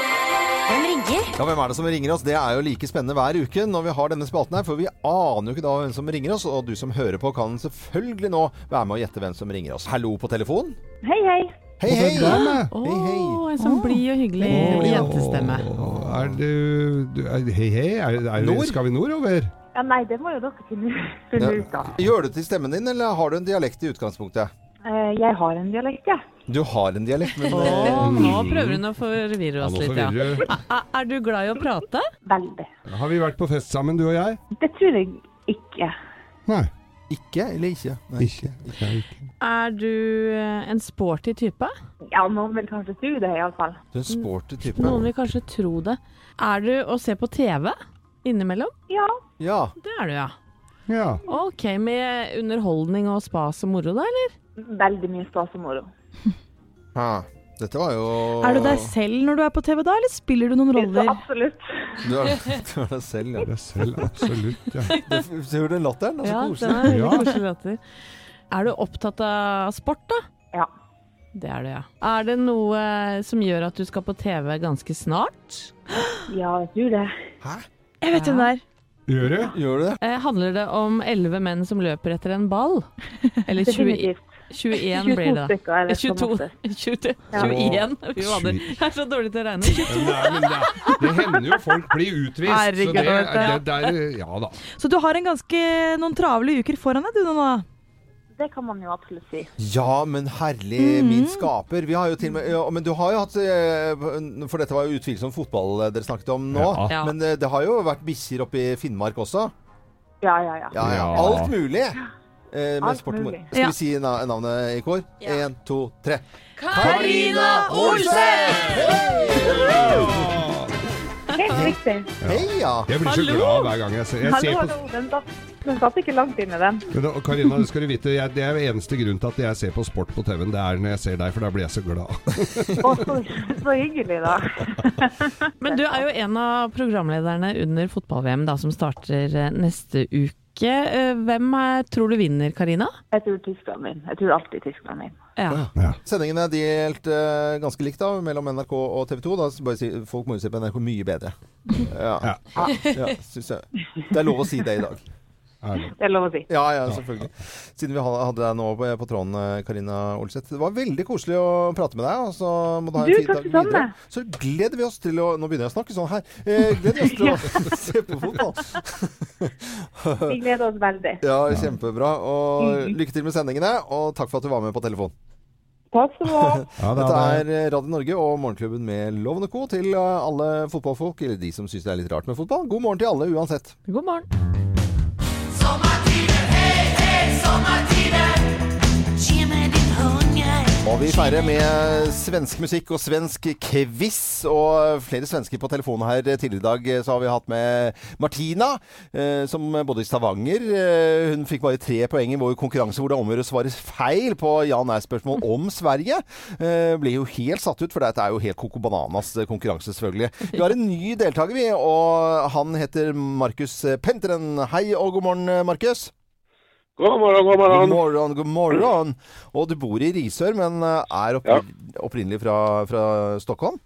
Speaker 8: Hvem ringer?
Speaker 1: Ja, Hvem er det som ringer oss? Det er jo like spennende hver uke når vi har denne spalten her, for vi aner jo ikke da hvem som ringer oss. Og du som hører på, kan selvfølgelig nå være med og gjette hvem som ringer oss. Hallo på telefon.
Speaker 11: Hei, hei.
Speaker 1: Hei, hei!
Speaker 4: Å, en sånn blid og hyggelig jentestemme.
Speaker 3: Åh, Er du, du er, Hei, hei. Er, er,
Speaker 1: Nord?
Speaker 3: Skal vi nordover?
Speaker 11: Ja, nei, det må jo dere finne,
Speaker 1: Ja.
Speaker 11: finne ut av.
Speaker 1: Gjør du til stemmen din, eller har du en dialekt i utgangspunktet?
Speaker 11: Eh, Jeg har en dialekt, jeg.
Speaker 1: Du har en dialekt, men
Speaker 4: Å, nå prøver hun å forvirre
Speaker 3: Ja,
Speaker 4: oss
Speaker 3: nå
Speaker 4: litt, ja.
Speaker 3: forvirrer du.
Speaker 4: Er, er du glad i å prate?
Speaker 11: Veldig.
Speaker 3: Har vi vært på fest sammen, du og jeg?
Speaker 11: Det tror jeg ikke.
Speaker 3: Nei.
Speaker 1: Ikke eller ikke?
Speaker 3: ikke. Nei, ikke.
Speaker 4: Er du eh, en sporty type?
Speaker 11: Ja, noen vil kanskje tro det, iallfall.
Speaker 1: Du er en sporty type.
Speaker 4: Noen vil kanskje tro det. Er du å se på TV innimellom?
Speaker 11: Ja.
Speaker 1: Ja.
Speaker 4: Det er du, ja.
Speaker 3: Ja.
Speaker 4: Ok, med underholdning og spas og moro da, eller?
Speaker 11: Veldig mye stas og moro.
Speaker 1: Ja. Dette var jo
Speaker 7: Er du deg selv når du er på TV da, eller spiller du noen roller?
Speaker 11: Absolutt.
Speaker 1: Du er, du er deg selv, ja.
Speaker 3: Det er selv, absolutt. Ja.
Speaker 1: Du, ser du den latteren? Det
Speaker 4: Ja,
Speaker 1: er så
Speaker 4: den er
Speaker 1: koselig.
Speaker 4: veldig koselig latter. Er du opptatt av sport, da?
Speaker 11: Ja.
Speaker 4: Det er du, ja. Er det noe eh, som gjør at du skal på TV ganske snart?
Speaker 11: Ja, jeg tror det.
Speaker 7: Jeg vet hvem det er.
Speaker 3: Gjør du?
Speaker 1: Gjør du det?
Speaker 4: Eh, handler det om 11 menn som løper etter en ball? Eller 20,
Speaker 11: Definitivt.
Speaker 4: 21 blir det, da.
Speaker 11: stykker er det på
Speaker 4: 22,
Speaker 11: en måte.
Speaker 4: 22, 21? Fy fader, jeg er så dårlig til å regne.
Speaker 3: Ja, men det, er- det hender jo folk blir utvist.
Speaker 7: Herregud,
Speaker 3: så det,
Speaker 7: vet du, ja.
Speaker 3: det, det er Ja da.
Speaker 7: Så du har en ganske, noen travle uker foran deg, du nå. da.
Speaker 11: Det kan man jo absolutt si.
Speaker 1: Ja, men herlig min skaper. Vi har jo til og med ja, Men du har jo hatt eh, For dette var jo utvilsomt fotball eh, dere snakket om nå.
Speaker 3: Ja.
Speaker 4: Ja.
Speaker 1: Men eh, det har jo vært bikkjer oppe i Finnmark også.
Speaker 11: Ja, ja, ja.
Speaker 1: Ja, ja.
Speaker 3: Ja.
Speaker 1: Alt mulig. Eh, med
Speaker 11: Alt
Speaker 1: sport og moro.
Speaker 11: mulig.
Speaker 1: Skal vi si na navnet i kor?
Speaker 5: Ja.
Speaker 1: Én, to, tre.
Speaker 5: Karina Olsen!
Speaker 11: Helt riktig.
Speaker 1: Hei, ja.
Speaker 3: Jeg blir så
Speaker 4: Hallo!
Speaker 3: glad hver gang jeg ser, jeg
Speaker 11: Hallo,
Speaker 3: ser på
Speaker 11: hallo. Den satt, den satt ikke langt inne, den.
Speaker 3: Men da, Karina, det skal du vite, jeg, det er eneste grunnen til at jeg ser på sport på TV-en. Det er når jeg ser deg, for da blir jeg så glad.
Speaker 11: Å, så, så hyggelig, da.
Speaker 4: Men du er jo en av programlederne under fotball-VM da, som starter eh, neste uke. Eh, Hvem eh, tror du vinner, Karina?
Speaker 11: Jeg tror Tyskland min. Jeg tror alltid Tyskland min.
Speaker 4: Ja.
Speaker 1: Sendingen er delt eh, ganske likt da, mellom NRK og TV 2. Da, s- bare si, folk må jo se på NRK mye bedre. Ja,
Speaker 3: Ja.
Speaker 1: ja synes jeg. Det er lov å si det i dag.
Speaker 3: Ærlig.
Speaker 11: Det er lov å si.
Speaker 1: Ja, ja, selvfølgelig. Siden vi ha- hadde deg nå på, på tråden, eh, Karina Olseth. Det var veldig koselig å prate med deg. Og så må du ha en
Speaker 11: Du,
Speaker 1: fin
Speaker 11: takk
Speaker 1: dag
Speaker 11: det samme.
Speaker 1: videre. Så gleder vi oss til å Nå begynner jeg å snakke sånn her. Eh, gleder vi oss til å se på fotball.
Speaker 11: Vi gleder oss veldig. Mm.
Speaker 1: Ja, kjempebra. Og lykke til med sendingene, og takk for at du var med på telefon.
Speaker 11: Takk skal du ha.
Speaker 3: Ja, det
Speaker 1: Dette
Speaker 3: er,
Speaker 1: er eh, Radio Norge og Morgenklubben med Loven og Co. til eh, alle fotballfolk, eller de som syns det er litt rart med fotball. God morgen til alle uansett.
Speaker 4: God morgen.
Speaker 8: Sommartider, hej, hej, sommartider Ge mig din hunger
Speaker 1: Og vi feirer med svensk musikk og svensk quiz. Og flere svensker på telefonen her tidligere i dag eh, så har vi hatt med Martina, eh, som bodde i Stavanger. Eh, hun fikk bare tre poeng i vår konkurranse hvor det omgjør å svare feil på ja-nei-spørsmål om Sverige. Eh, ble jo helt satt ut, for dette er jo helt koko bananas eh, konkurranse, selvfølgelig. Vi har en ny deltaker, vi, og han heter eh, Markus Penteren. Hei og god morgen, Markus.
Speaker 12: God morgen, god morgen.
Speaker 1: God morgen, god morgen. Og du bor i Risør, men eh, er oppri opprinnelig fra, fra Stockholm?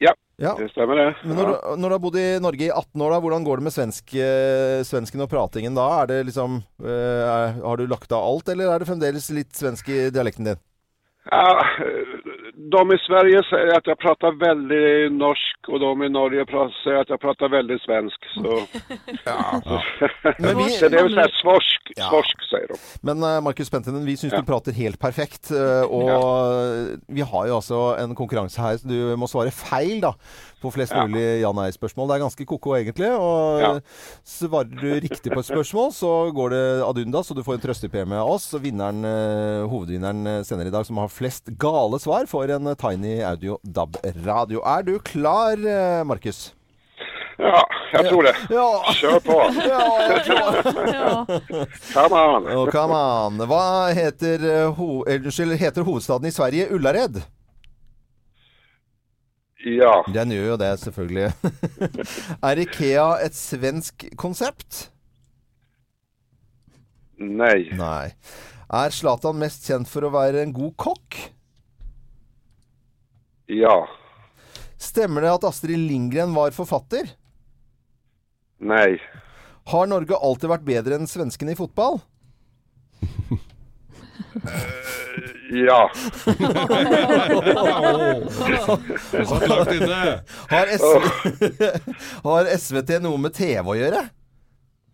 Speaker 12: Ja,
Speaker 1: Ja.
Speaker 12: det stemmer det.
Speaker 1: Men når,
Speaker 12: Ja.
Speaker 1: du, når du har bodd i Norge i 18 år, da, hvordan går det med svensk, eh, svensken og pratingen da? Er det liksom, eh, er, har du lagt av alt, eller er det fremdeles litt svensk i dialekten din?
Speaker 12: Ja, de i Sverige säger att jag pratar väldigt norsk och de i Norge pra- säger att jag pratar väldigt svensk. Så,
Speaker 1: ja.
Speaker 12: Men
Speaker 1: vi-
Speaker 12: så det är väl så här svorsk, svorsk säger de.
Speaker 1: Men eh, Markus Pentinen, vi syns
Speaker 12: Ja.
Speaker 1: du prater helt perfekt. eh, og eh, vi har jo altså en konkurranse her, så du må svare feil da på flest
Speaker 12: Ja.
Speaker 1: mulig ja-nei-spørsmål. Det er ganske ko-ko egentlig. Og eh,
Speaker 12: Ja.
Speaker 1: svarer du riktig på et spørsmål, så går det ad undas, og du får en trøstepremie av oss. Og vinneren, eh, hovedvinneren eh, senere i dag, som har flest gale svar, får en eh, Tiny Audio DAB radio. Er du klar, eh, Markus?
Speaker 12: Ja, jag tror det.
Speaker 1: Ja.
Speaker 12: Kör på.
Speaker 1: Ja, jag
Speaker 12: Come on.
Speaker 1: Oh, come on. Hva heter, eh, ho eh, unnskyld, heter hovedstaden i Sverige Ullared?
Speaker 12: Ja.
Speaker 1: Den gjør jo det, selvfølgelig. er Ikea et svensk konsept?
Speaker 12: Nei.
Speaker 1: Nei. Er Zlatan mest kjent for å være en god kokk?
Speaker 12: Ja.
Speaker 1: Stemmer det at Astrid Lindgren var forfatter?
Speaker 12: Nej.
Speaker 1: Har Norge alltid vært bedre enn svenskene i fotball?
Speaker 12: Ja.
Speaker 1: Satt langt inne. Har, SV... Har SVT noe med TV å gjøre?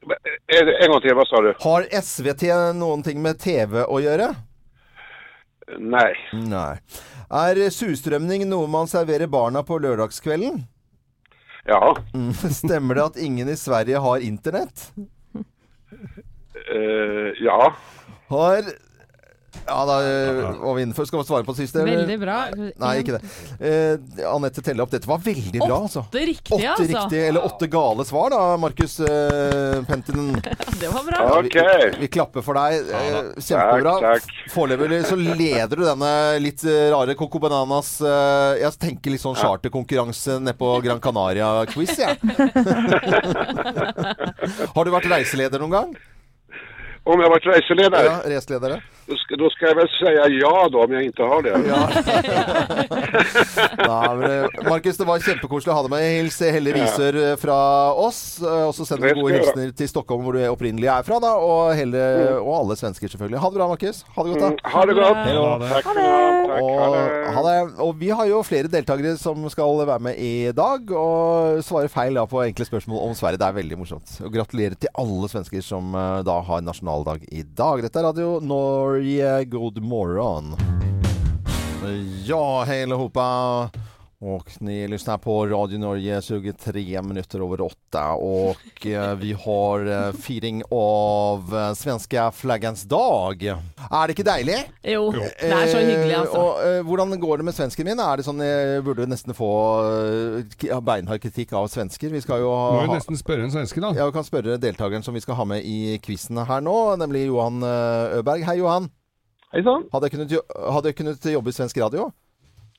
Speaker 12: En, eh, en gång till, vad sa du?
Speaker 1: Har SVT noen ting med TV å gjøre?
Speaker 12: Nei.
Speaker 1: Nei. Er surstrømning noe man serverer barna på lørdagskvelden?
Speaker 12: Ja.
Speaker 1: Mm, Stemmer det at ingen i Sverige har internett?
Speaker 12: Eh, ja.
Speaker 1: Har Ja, da eh, var vi innenfor. Skal vi svare på det siste? eller?
Speaker 4: Veldig bra.
Speaker 1: Nei, ikke det. Eh, Anette telle opp. Dette var veldig bra, altså.
Speaker 4: Åtte riktige,
Speaker 1: Åtte
Speaker 4: altså.
Speaker 1: riktige, eller åtte gale svar, da, Markus eh, Pentinen.
Speaker 4: Det var bra.
Speaker 1: Ja, vi- Vi, vi klapper for deg. Eh, Kjempebra.
Speaker 12: Takk,
Speaker 1: Foreløpig så leder du denne litt eh, rare Coco Bananas eh, Jeg tenker litt sånn charterkonkurranse nede på Gran Canaria-quiz, jeg. Har du vært reiseleder noen gang?
Speaker 12: Om jeg har vært reiseleder?
Speaker 1: Ja, reiseledere.
Speaker 12: Då ska, då ska jag väl säga ja då om jag inte har det.
Speaker 1: Ja, men, eh, Markus, det var kjempekoselig å ha deg med. Hils Helle Risør eh, fra oss. eh, Og så sender
Speaker 12: Det
Speaker 1: vi
Speaker 12: skal
Speaker 1: gode
Speaker 12: jeg gjøre.
Speaker 1: hilsener til Stockholm, hvor du opprinnelig er fra, da. Og, Helle, og alle svensker, selvfølgelig. Ha det bra, Markus. Ha det godt,
Speaker 12: Mm,
Speaker 1: da.
Speaker 12: ha det godt.
Speaker 1: Hei da.
Speaker 12: Ha det. Takk skal du ha. Takk, ha
Speaker 1: Og,
Speaker 12: det.
Speaker 1: ha det. og vi har jo flere deltakere som skal være med i dag og svare feil da, på enkle spørsmål om Sverige. Det er veldig morsomt. Og gratulerer til alle svensker som eh, da har nasjonaldag i dag. Dette er Radio Norge. God morgen. Ja, hej allihopa! Och ni lyssnar på Radio Norge 23 minuter över åtta och eh, vi har eh, firing av eh, svenska flaggans dag. Är det inte dejligt?
Speaker 4: Jo, det er så hyggelig, altså.
Speaker 1: Og eh, hvordan går det med svensken min? Er det sånn jeg burde nesten få eh, k- beinhard kritikk av svensker? Vi skal jo ha
Speaker 3: Må jo nesten spørre en svenske, da.
Speaker 1: Ja, vi kan spørre deltakeren som vi skal ha med i quizen her nå, nemlig Johan eh, Øberg. Hei, Johan.
Speaker 13: Hei sann.
Speaker 1: Hadde jeg kunnet, jo- hadde jeg kunnet jobbe i svensk radio?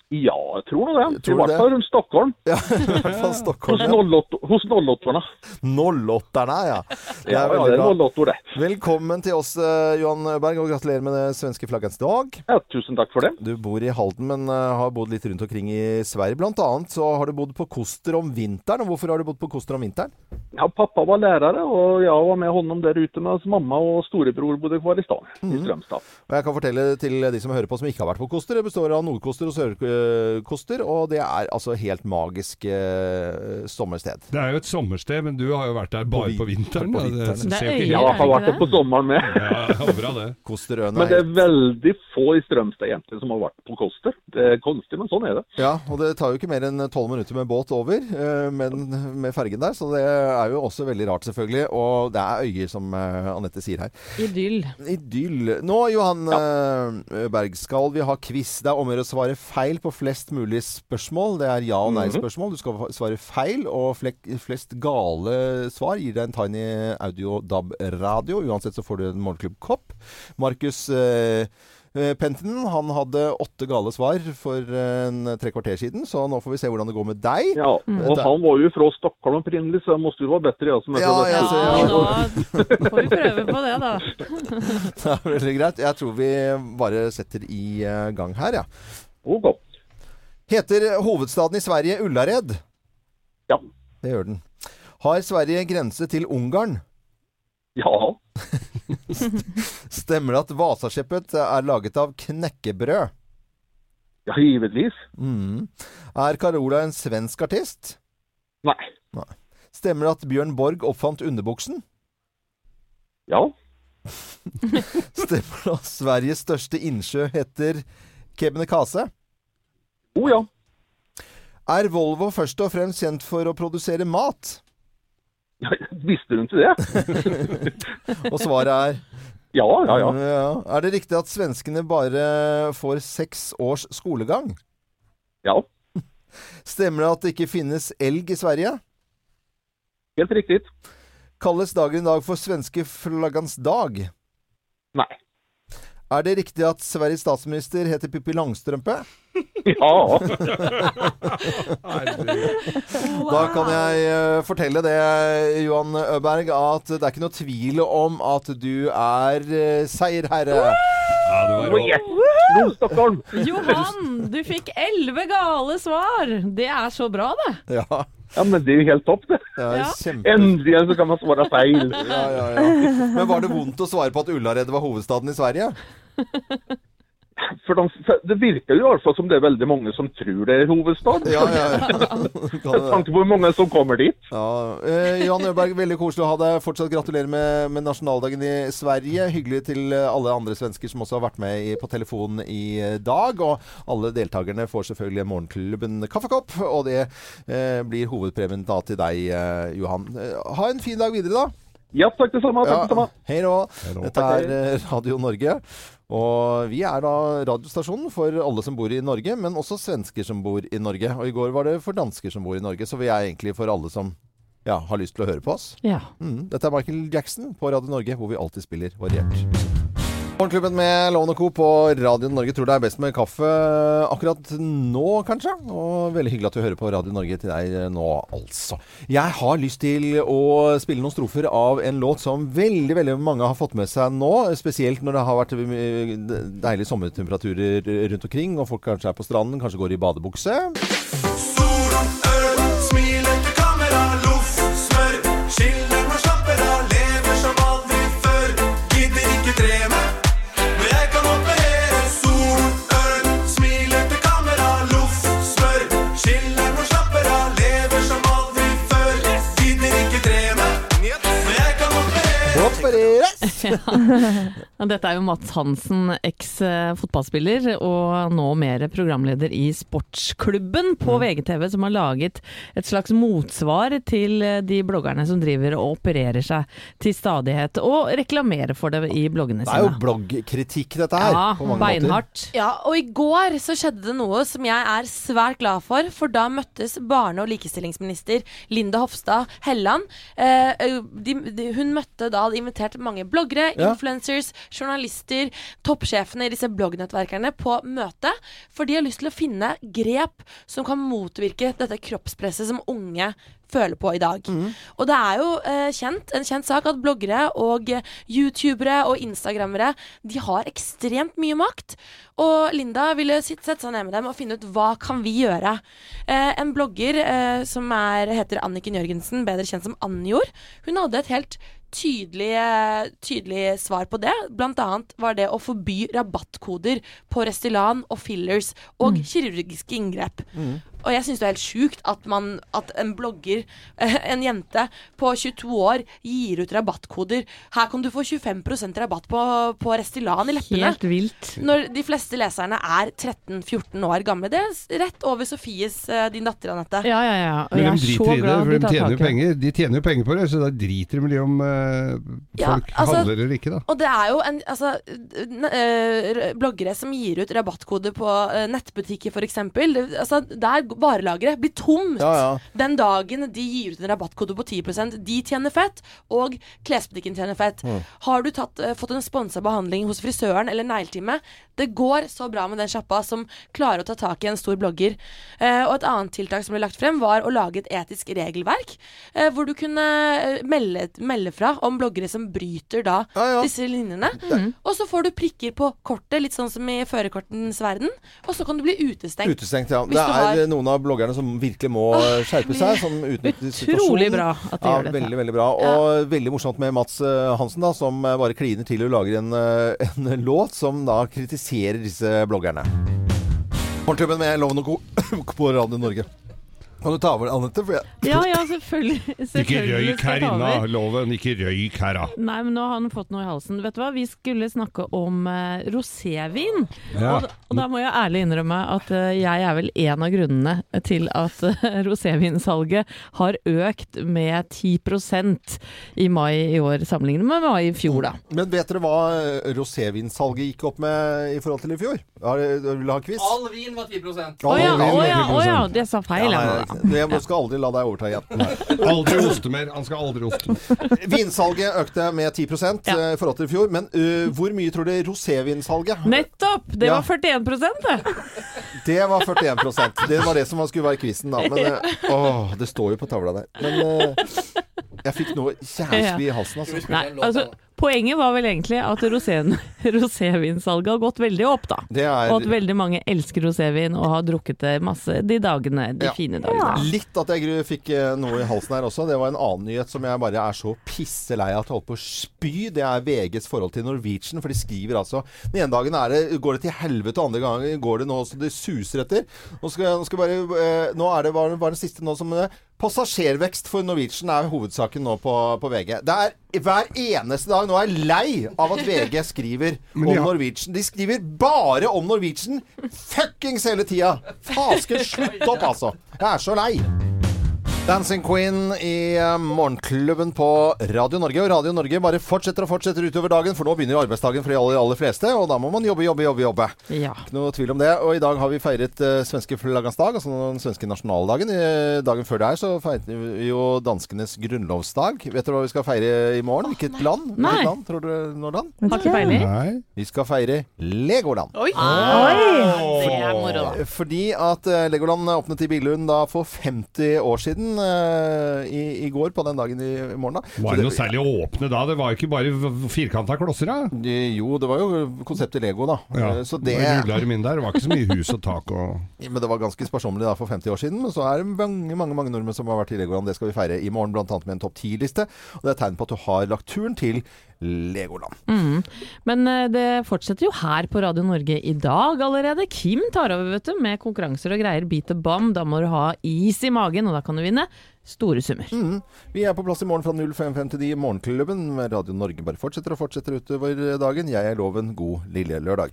Speaker 13: Ja, jeg tror nå det.
Speaker 1: Tror
Speaker 13: I
Speaker 1: du det?
Speaker 13: hvert fall rundt Stockholm.
Speaker 1: Stockholm,
Speaker 13: hos
Speaker 1: ja.
Speaker 13: nollåt- hos nollåttorna.
Speaker 1: Nollåtterne, ja. Det
Speaker 13: Ja, ja,
Speaker 1: er veldig
Speaker 13: det er
Speaker 1: bra.
Speaker 13: nollåttor, det.
Speaker 1: Velkommen til oss, eh, Johan Berg, og gratulerer med det svenske flaggets dag.
Speaker 13: Ja, tusen takk for det.
Speaker 1: Du bor i Halden, men eh, har bodd litt rundt omkring i Sverige. Blant annet så har du bodd på Koster om vinteren. Og hvorfor har du bodd på Koster om vinteren?
Speaker 13: Ja, pappa var lærer, og jeg var med honom der ute mens mamma og storebror bodde kvar i staden,
Speaker 1: Mhm.
Speaker 13: i Strømstad.
Speaker 1: Og jeg kan fortelle til de som hører på som ikke har vært på Koster, det består av Nordkoster og Sørkoster, og det er altså helt magisk eh, sommersted.
Speaker 3: Det er jo et sommersted, men du har jo vært der bare på vinteren.
Speaker 1: på
Speaker 3: da.
Speaker 1: vinteren.
Speaker 3: Det,
Speaker 1: Det er
Speaker 3: ser jo
Speaker 1: øyer,
Speaker 3: ikke helt-
Speaker 1: Ja, har vært der
Speaker 13: på sommeren med.
Speaker 3: Ja, ja, bra det.
Speaker 1: Kosterøen
Speaker 13: Men det er veldig få i Strømstad egentlig som har vært på Koster. Det er konstig, men sånn er det.
Speaker 1: Ja, og det tar jo ikke mer enn tolv minutter med båt over, eh, men med fergen der, så det er jo også veldig rart, selvfølgelig. Og det er øyer, som eh, Anette sier her.
Speaker 4: Idyll.
Speaker 1: Idyll. Nå, Johan eh, Berg, skal vi ha quiz. Det er om å gjøre å svare feil på flest mulig spørsmål. Det er ja- og
Speaker 13: Mhm.
Speaker 1: nei-spørsmål. Du skal svare feil, og flek- flest gale svar gir deg en Tiny Audio DAB-radio. Uansett så får du en morgenklubbkopp. Markus eh, Eh, Pentinen han hadde åtte gale svar for eh, en tre kvarter siden, så nå får vi se hvordan det går med deg.
Speaker 13: Ja, og
Speaker 1: Eh,
Speaker 13: han var jo fra Stockholm opprinnelig, så jeg måtte jo være bedre, jeg som er fra
Speaker 1: Ja,
Speaker 13: Vestby.
Speaker 1: jeg ser- Ja,
Speaker 4: Får vi prøve på det, da.
Speaker 1: Det er veldig greit. Jeg tror vi bare setter i eh, gang her, ja. Heter hovedstaden i Sverige Ullared?
Speaker 13: Ja.
Speaker 1: Det gjør den. Har Sverige grense til Ungarn?
Speaker 13: Ja.
Speaker 1: Stemmer det at Vasaskeppet er laget av knekkebrød?
Speaker 13: Ja, givetvis.
Speaker 1: Mm. Er Carola en svensk artist?
Speaker 13: Nei.
Speaker 1: Stemmer det at Bjørn Borg oppfant underbuksen?
Speaker 13: Ja.
Speaker 1: Stemmer det at Sveriges største innsjø heter Kebnekaise?
Speaker 13: Å ja.
Speaker 1: Er Volvo først og fremst kjent for å produsere mat?
Speaker 13: Visste du ikke det?
Speaker 1: Og svaret er
Speaker 13: Ja, ja, ja.
Speaker 1: Er det riktig at svenskene bare får seks års skolegang?
Speaker 13: Ja.
Speaker 1: Stemmer det at det ikke finnes elg i Sverige?
Speaker 13: Helt riktig.
Speaker 1: Kalles dagen i dag for svenske flaggans dag?
Speaker 13: Nei.
Speaker 1: Er det riktig at Sveriges statsminister heter Pippi Langstrømpe?
Speaker 13: Ja.
Speaker 1: Da kan jeg eh, fortelle det, Johan Øberg, at det er ikke noe tvil om at du er eh, seierherre. Ja,
Speaker 13: det var yes! Stockholm!
Speaker 4: Johan, du fikk elleve gale svar! Det er så bra, det.
Speaker 1: Ja.
Speaker 13: men det er jo helt topp, det.
Speaker 4: Ja.
Speaker 1: kjempe-
Speaker 13: Endelig så kan man svare feil.
Speaker 1: Ja, ja, ja. Men var det vondt å svare på at Ullared var hovedstaden i Sverige?
Speaker 13: For de, for det virker jo i hvert fall som det er veldig mange som tror det er hovedstad.
Speaker 1: Ja, ja, ja.
Speaker 13: Med tanke på hvor mange som kommer dit.
Speaker 1: Ja, eh, Johan Øberg, veldig koselig å ha deg. Fortsatt gratulerer med, med nasjonaldagen i Sverige. Hyggelig til eh, alle andre svensker som også har vært med i, på telefonen i eh, dag. Og alle deltakerne får selvfølgelig morgenklubben kaffekopp, og det eh, blir hovedpremien da til deg, eh, Johan. Eh, Ha en fin dag videre, da.
Speaker 13: Ja, takk det samme.
Speaker 1: Takk det samme. Hei nå. Dette
Speaker 13: Takk,
Speaker 1: er eh, Radio Norge. Og vi er da radiostasjonen for alle som bor i Norge, men også svensker som bor i Norge. Og i går var det for dansker som bor i Norge, så vi er egentlig for alle som ja, har lyst til å høre på oss.
Speaker 4: Ja.
Speaker 1: Mm, dette er Michael Jackson på Radio Norge, hvor vi alltid spiller variert. Morgenklubben med Loven og Co. på Radio Norge tror det er best med kaffe akkurat nå, kanskje. Og veldig hyggelig at du hører på Radio Norge til deg nå, altså. Jeg har lyst til å spille noen strofer av en låt som veldig veldig mange har fått med seg nå. Spesielt når det har vært eh, deilige sommertemperaturer rundt omkring, og folk kanskje er på stranden, kanskje går i badebukse.
Speaker 8: Solen, øl, smiler til kamera, loff, smør. Skilleren har slapper av, lever som aldri før. Gidder ikke trene, men jeg kan operere. Solen, øl, smiler til kamera, loff, smør. Skilleren har slapper av, lever som aldri før. Gidder ikke trene, men jeg kan operere.
Speaker 4: Ja, Dette er jo Mats Hansen, eks-fotballspiller og nå mer programleder i Sportsklubben
Speaker 3: Mm.
Speaker 4: på VGTV, som har laget et slags motsvar til eh, de bloggerne som driver og opererer seg til stadighet, og reklamerer for det i bloggene
Speaker 1: Det er jo
Speaker 4: sine.
Speaker 1: bloggkritikk, dette her.
Speaker 4: Ja,
Speaker 1: på mange
Speaker 4: beinhardt.
Speaker 5: Ja, og i går så skjedde det noe som jeg er svært glad for, for da møttes barne- og likestillingsminister Linda Hofstad Helland. Eh, de, de, hun møtte da hadde invitert mange bloggere,
Speaker 14: Ja.
Speaker 5: influencers, journalister, toppsjefene i disse bloggnettverkerne på møte, for de har lyst til å finne grep som kan motvirke dette kroppspresset som unge føler på i dag. Og det er jo eh, kjent, en kjent sak at bloggere og eh, youtubere og instagrammere de har ekstremt mye makt. Og Linda ville sitt- sette seg ned med dem og finne ut hva kan vi gjøre. Eh, en blogger eh, som er, heter Anniken Jørgensen, bedre kjent som Anjor, hun hadde et helt tydelig, eh, tydelig svar på det. Blant annet var det å forby rabattkoder på Restylan og fillers og kirurgiske inngrep. Og jeg syns det er helt sjukt at, man, at en blogger, eh, en jente på 22 år, gir ut rabattkoder. Her kan du få 25 rabatt på, på Restylan i leppene.
Speaker 4: Helt vilt.
Speaker 5: Når de fleste leserne er 13-14 år gamle. Det er rett over Sofies, eh, din datter, Anette.
Speaker 4: Ja, ja, ja.
Speaker 3: Men de driter i det, for de tjener jo penger. De tjener jo penger på det, så da driter de i om eh,
Speaker 5: Ja,
Speaker 3: folk
Speaker 5: altså-
Speaker 3: handler eller ikke, da.
Speaker 5: Og det er jo en, altså, n- eh, øh, bloggere som gir ut rabattkode på øh, nettbutikker f.eks. Altså, der g- varelageret blir tomt
Speaker 1: Ja, ja.
Speaker 5: den dagen de gir ut en rabattkode på 10 De tjener fett, og klesbutikken tjener fett.
Speaker 1: Mm.
Speaker 5: Har du tatt, eh, fått en sponsa behandling hos frisøren eller negletime? Det går så bra med den sjappa som klarer å ta tak i en stor blogger. Eh, og et annet tiltak som ble lagt frem, var å lage et etisk regelverk. Eh, hvor du kunne eh, melde, melde fra om bloggere som bryter da disse linjene. Og så får du prikker på kortet, litt sånn som i førerkortens verden. Og så kan du bli utestengt.
Speaker 1: Utestengt, ja.
Speaker 5: Hvis
Speaker 1: Det
Speaker 5: du har-
Speaker 1: er noen av bloggerne som virkelig må eh, skjerpe seg. Som utnytter situasjonen.
Speaker 4: Utrolig bra at de
Speaker 1: ja,
Speaker 4: gjør dette.
Speaker 1: Veldig, veldig bra. Og veldig morsomt med Mats eh, Hansen, da, som eh, bare kliner til og lager en, eh, en låt som da kritiserer disse bloggerne. Morgenklubben med Loven og Co. på Radio Norge. Kan du ta over, Anette? For jeg...
Speaker 4: Ja, ja, selvfølgelig.
Speaker 3: Ikke
Speaker 4: selvfølgelig
Speaker 3: røyk
Speaker 4: skal
Speaker 3: her
Speaker 4: jeg ta
Speaker 3: inne,
Speaker 4: over.
Speaker 3: loven. Ikke røyk her, da.
Speaker 4: Nei, men nå har han fått noe i halsen. Vet du hva, vi skulle snakke om eh, rosévin.
Speaker 3: Ja.
Speaker 4: Og, da- og da må jeg ærlig innrømme at eh, jeg er vel en av grunnene til at eh, rosévinsalget har økt med 10 i mai i år, sammenlignet med mai i fjor, da.
Speaker 1: Men vet dere hva eh, rosévinsalget gikk opp med i forhold til i fjor? Har, eh, vil du ha quiz?
Speaker 6: All vin var 10
Speaker 1: Å ja, å ja, å ja,
Speaker 4: det sa feil.
Speaker 1: Ja, nei, jeg skal aldri la deg overta igjen.
Speaker 3: Aldri oste mer. Han skal aldri oste.
Speaker 1: Vinsalget økte med 10 eh, i forhold til i fjor. Men eh, hvor mye tror dere rosévinsalget
Speaker 4: Nettopp! Det
Speaker 1: Ja.
Speaker 4: var 41 det.
Speaker 1: Det var 41 Det var det som var- skulle være quizen, da. Men eh, åh, det står jo på tavla der. Men eh, jeg fikk noe jævlig i halsen, altså.
Speaker 4: Nei, altså, poenget var vel egentlig at roséen, rosévinsalget har gått veldig opp, da.
Speaker 1: Det er-
Speaker 4: Og at veldig mange elsker rosévin og har drukket det masse de dagene, de
Speaker 1: Ja.
Speaker 4: fine dagene.
Speaker 1: Litt at jeg gru- fikk eh, noe i halsen her også. Det var en annen nyhet som jeg bare er så pisselei av at jeg holdt på å spy. Det er VGs forhold til Norwegian, for de skriver altså Den ene dagen er det, går det til helvete, og andre gangen går det nå så det suser etter. Nå skal, jeg- nå skal jeg bare eh, Nå er det var, var den siste nå som eh, Passasjervekst for Norwegian er hovedsaken nå på, på VG. Det er hver eneste dag. Nå er jeg lei av at VG skriver om
Speaker 3: Men de har-
Speaker 1: Norwegian. De skriver bare om Norwegian fuckings hele tida! Fasken, slutt opp, altså! Jeg er så lei! Dancing Queen i eh, Morgenklubben på Radio Norge. Og Radio Norge bare fortsetter og fortsetter utover dagen, for nå begynner jo arbeidsdagen for de aller, aller fleste, og da må man jobbe, jobbe, jobbe. jobbe.
Speaker 4: Ja.
Speaker 1: Ikke noe tvil om det. Og i dag har vi feiret eh, svenske flaggans dag, altså den svenske nasjonaldagen. Eh, dagen før der så feiret vi jo danskenes grunnlovsdag. Vet dere hva vi skal feire i morgen? Hvilket land?
Speaker 4: Nei.
Speaker 1: Hvilket land, tror dere, Nordan?
Speaker 4: Har ikke peiling.
Speaker 1: Vi skal feire Legoland.
Speaker 4: Oi. Ah, Oi. det er moro, da.
Speaker 1: Fordi at eh, Legoland åpnet i Billund da for 50 år siden eh, i, i går, på den dagen i i morgen. da. Så
Speaker 3: Var det noe særlig å åpne da? Det var jo ikke bare v- firkanta klosser, da.
Speaker 1: Jo, det var jo konseptet Lego, da.
Speaker 3: Ja.
Speaker 1: Eh, Så
Speaker 3: Det
Speaker 1: det
Speaker 3: var rullarm inn der. Det var ikke så mye hus og tak og
Speaker 1: Men det var ganske sparsommelig da for 50 år siden. Men så er det mange mange, mange nordmenn som har vært i Legoland. Det skal vi feire i morgen, bl.a. med en topp 10-liste. Og det er tegn på at du har lagt turen til Legoland.
Speaker 4: Mm. Men eh, det fortsetter jo her på Radio Norge i dag allerede. Kim tar over, vet du, med konkurranser og greier. Beat the bomb. Da må du ha is i magen, og da kan du vinne store summer.
Speaker 1: Vi er på plass i morgen fra 05.50 til de i Morgenklubben. Radio Norge bare fortsetter og fortsetter utover dagen. Jeg er Loven. God lille lørdag.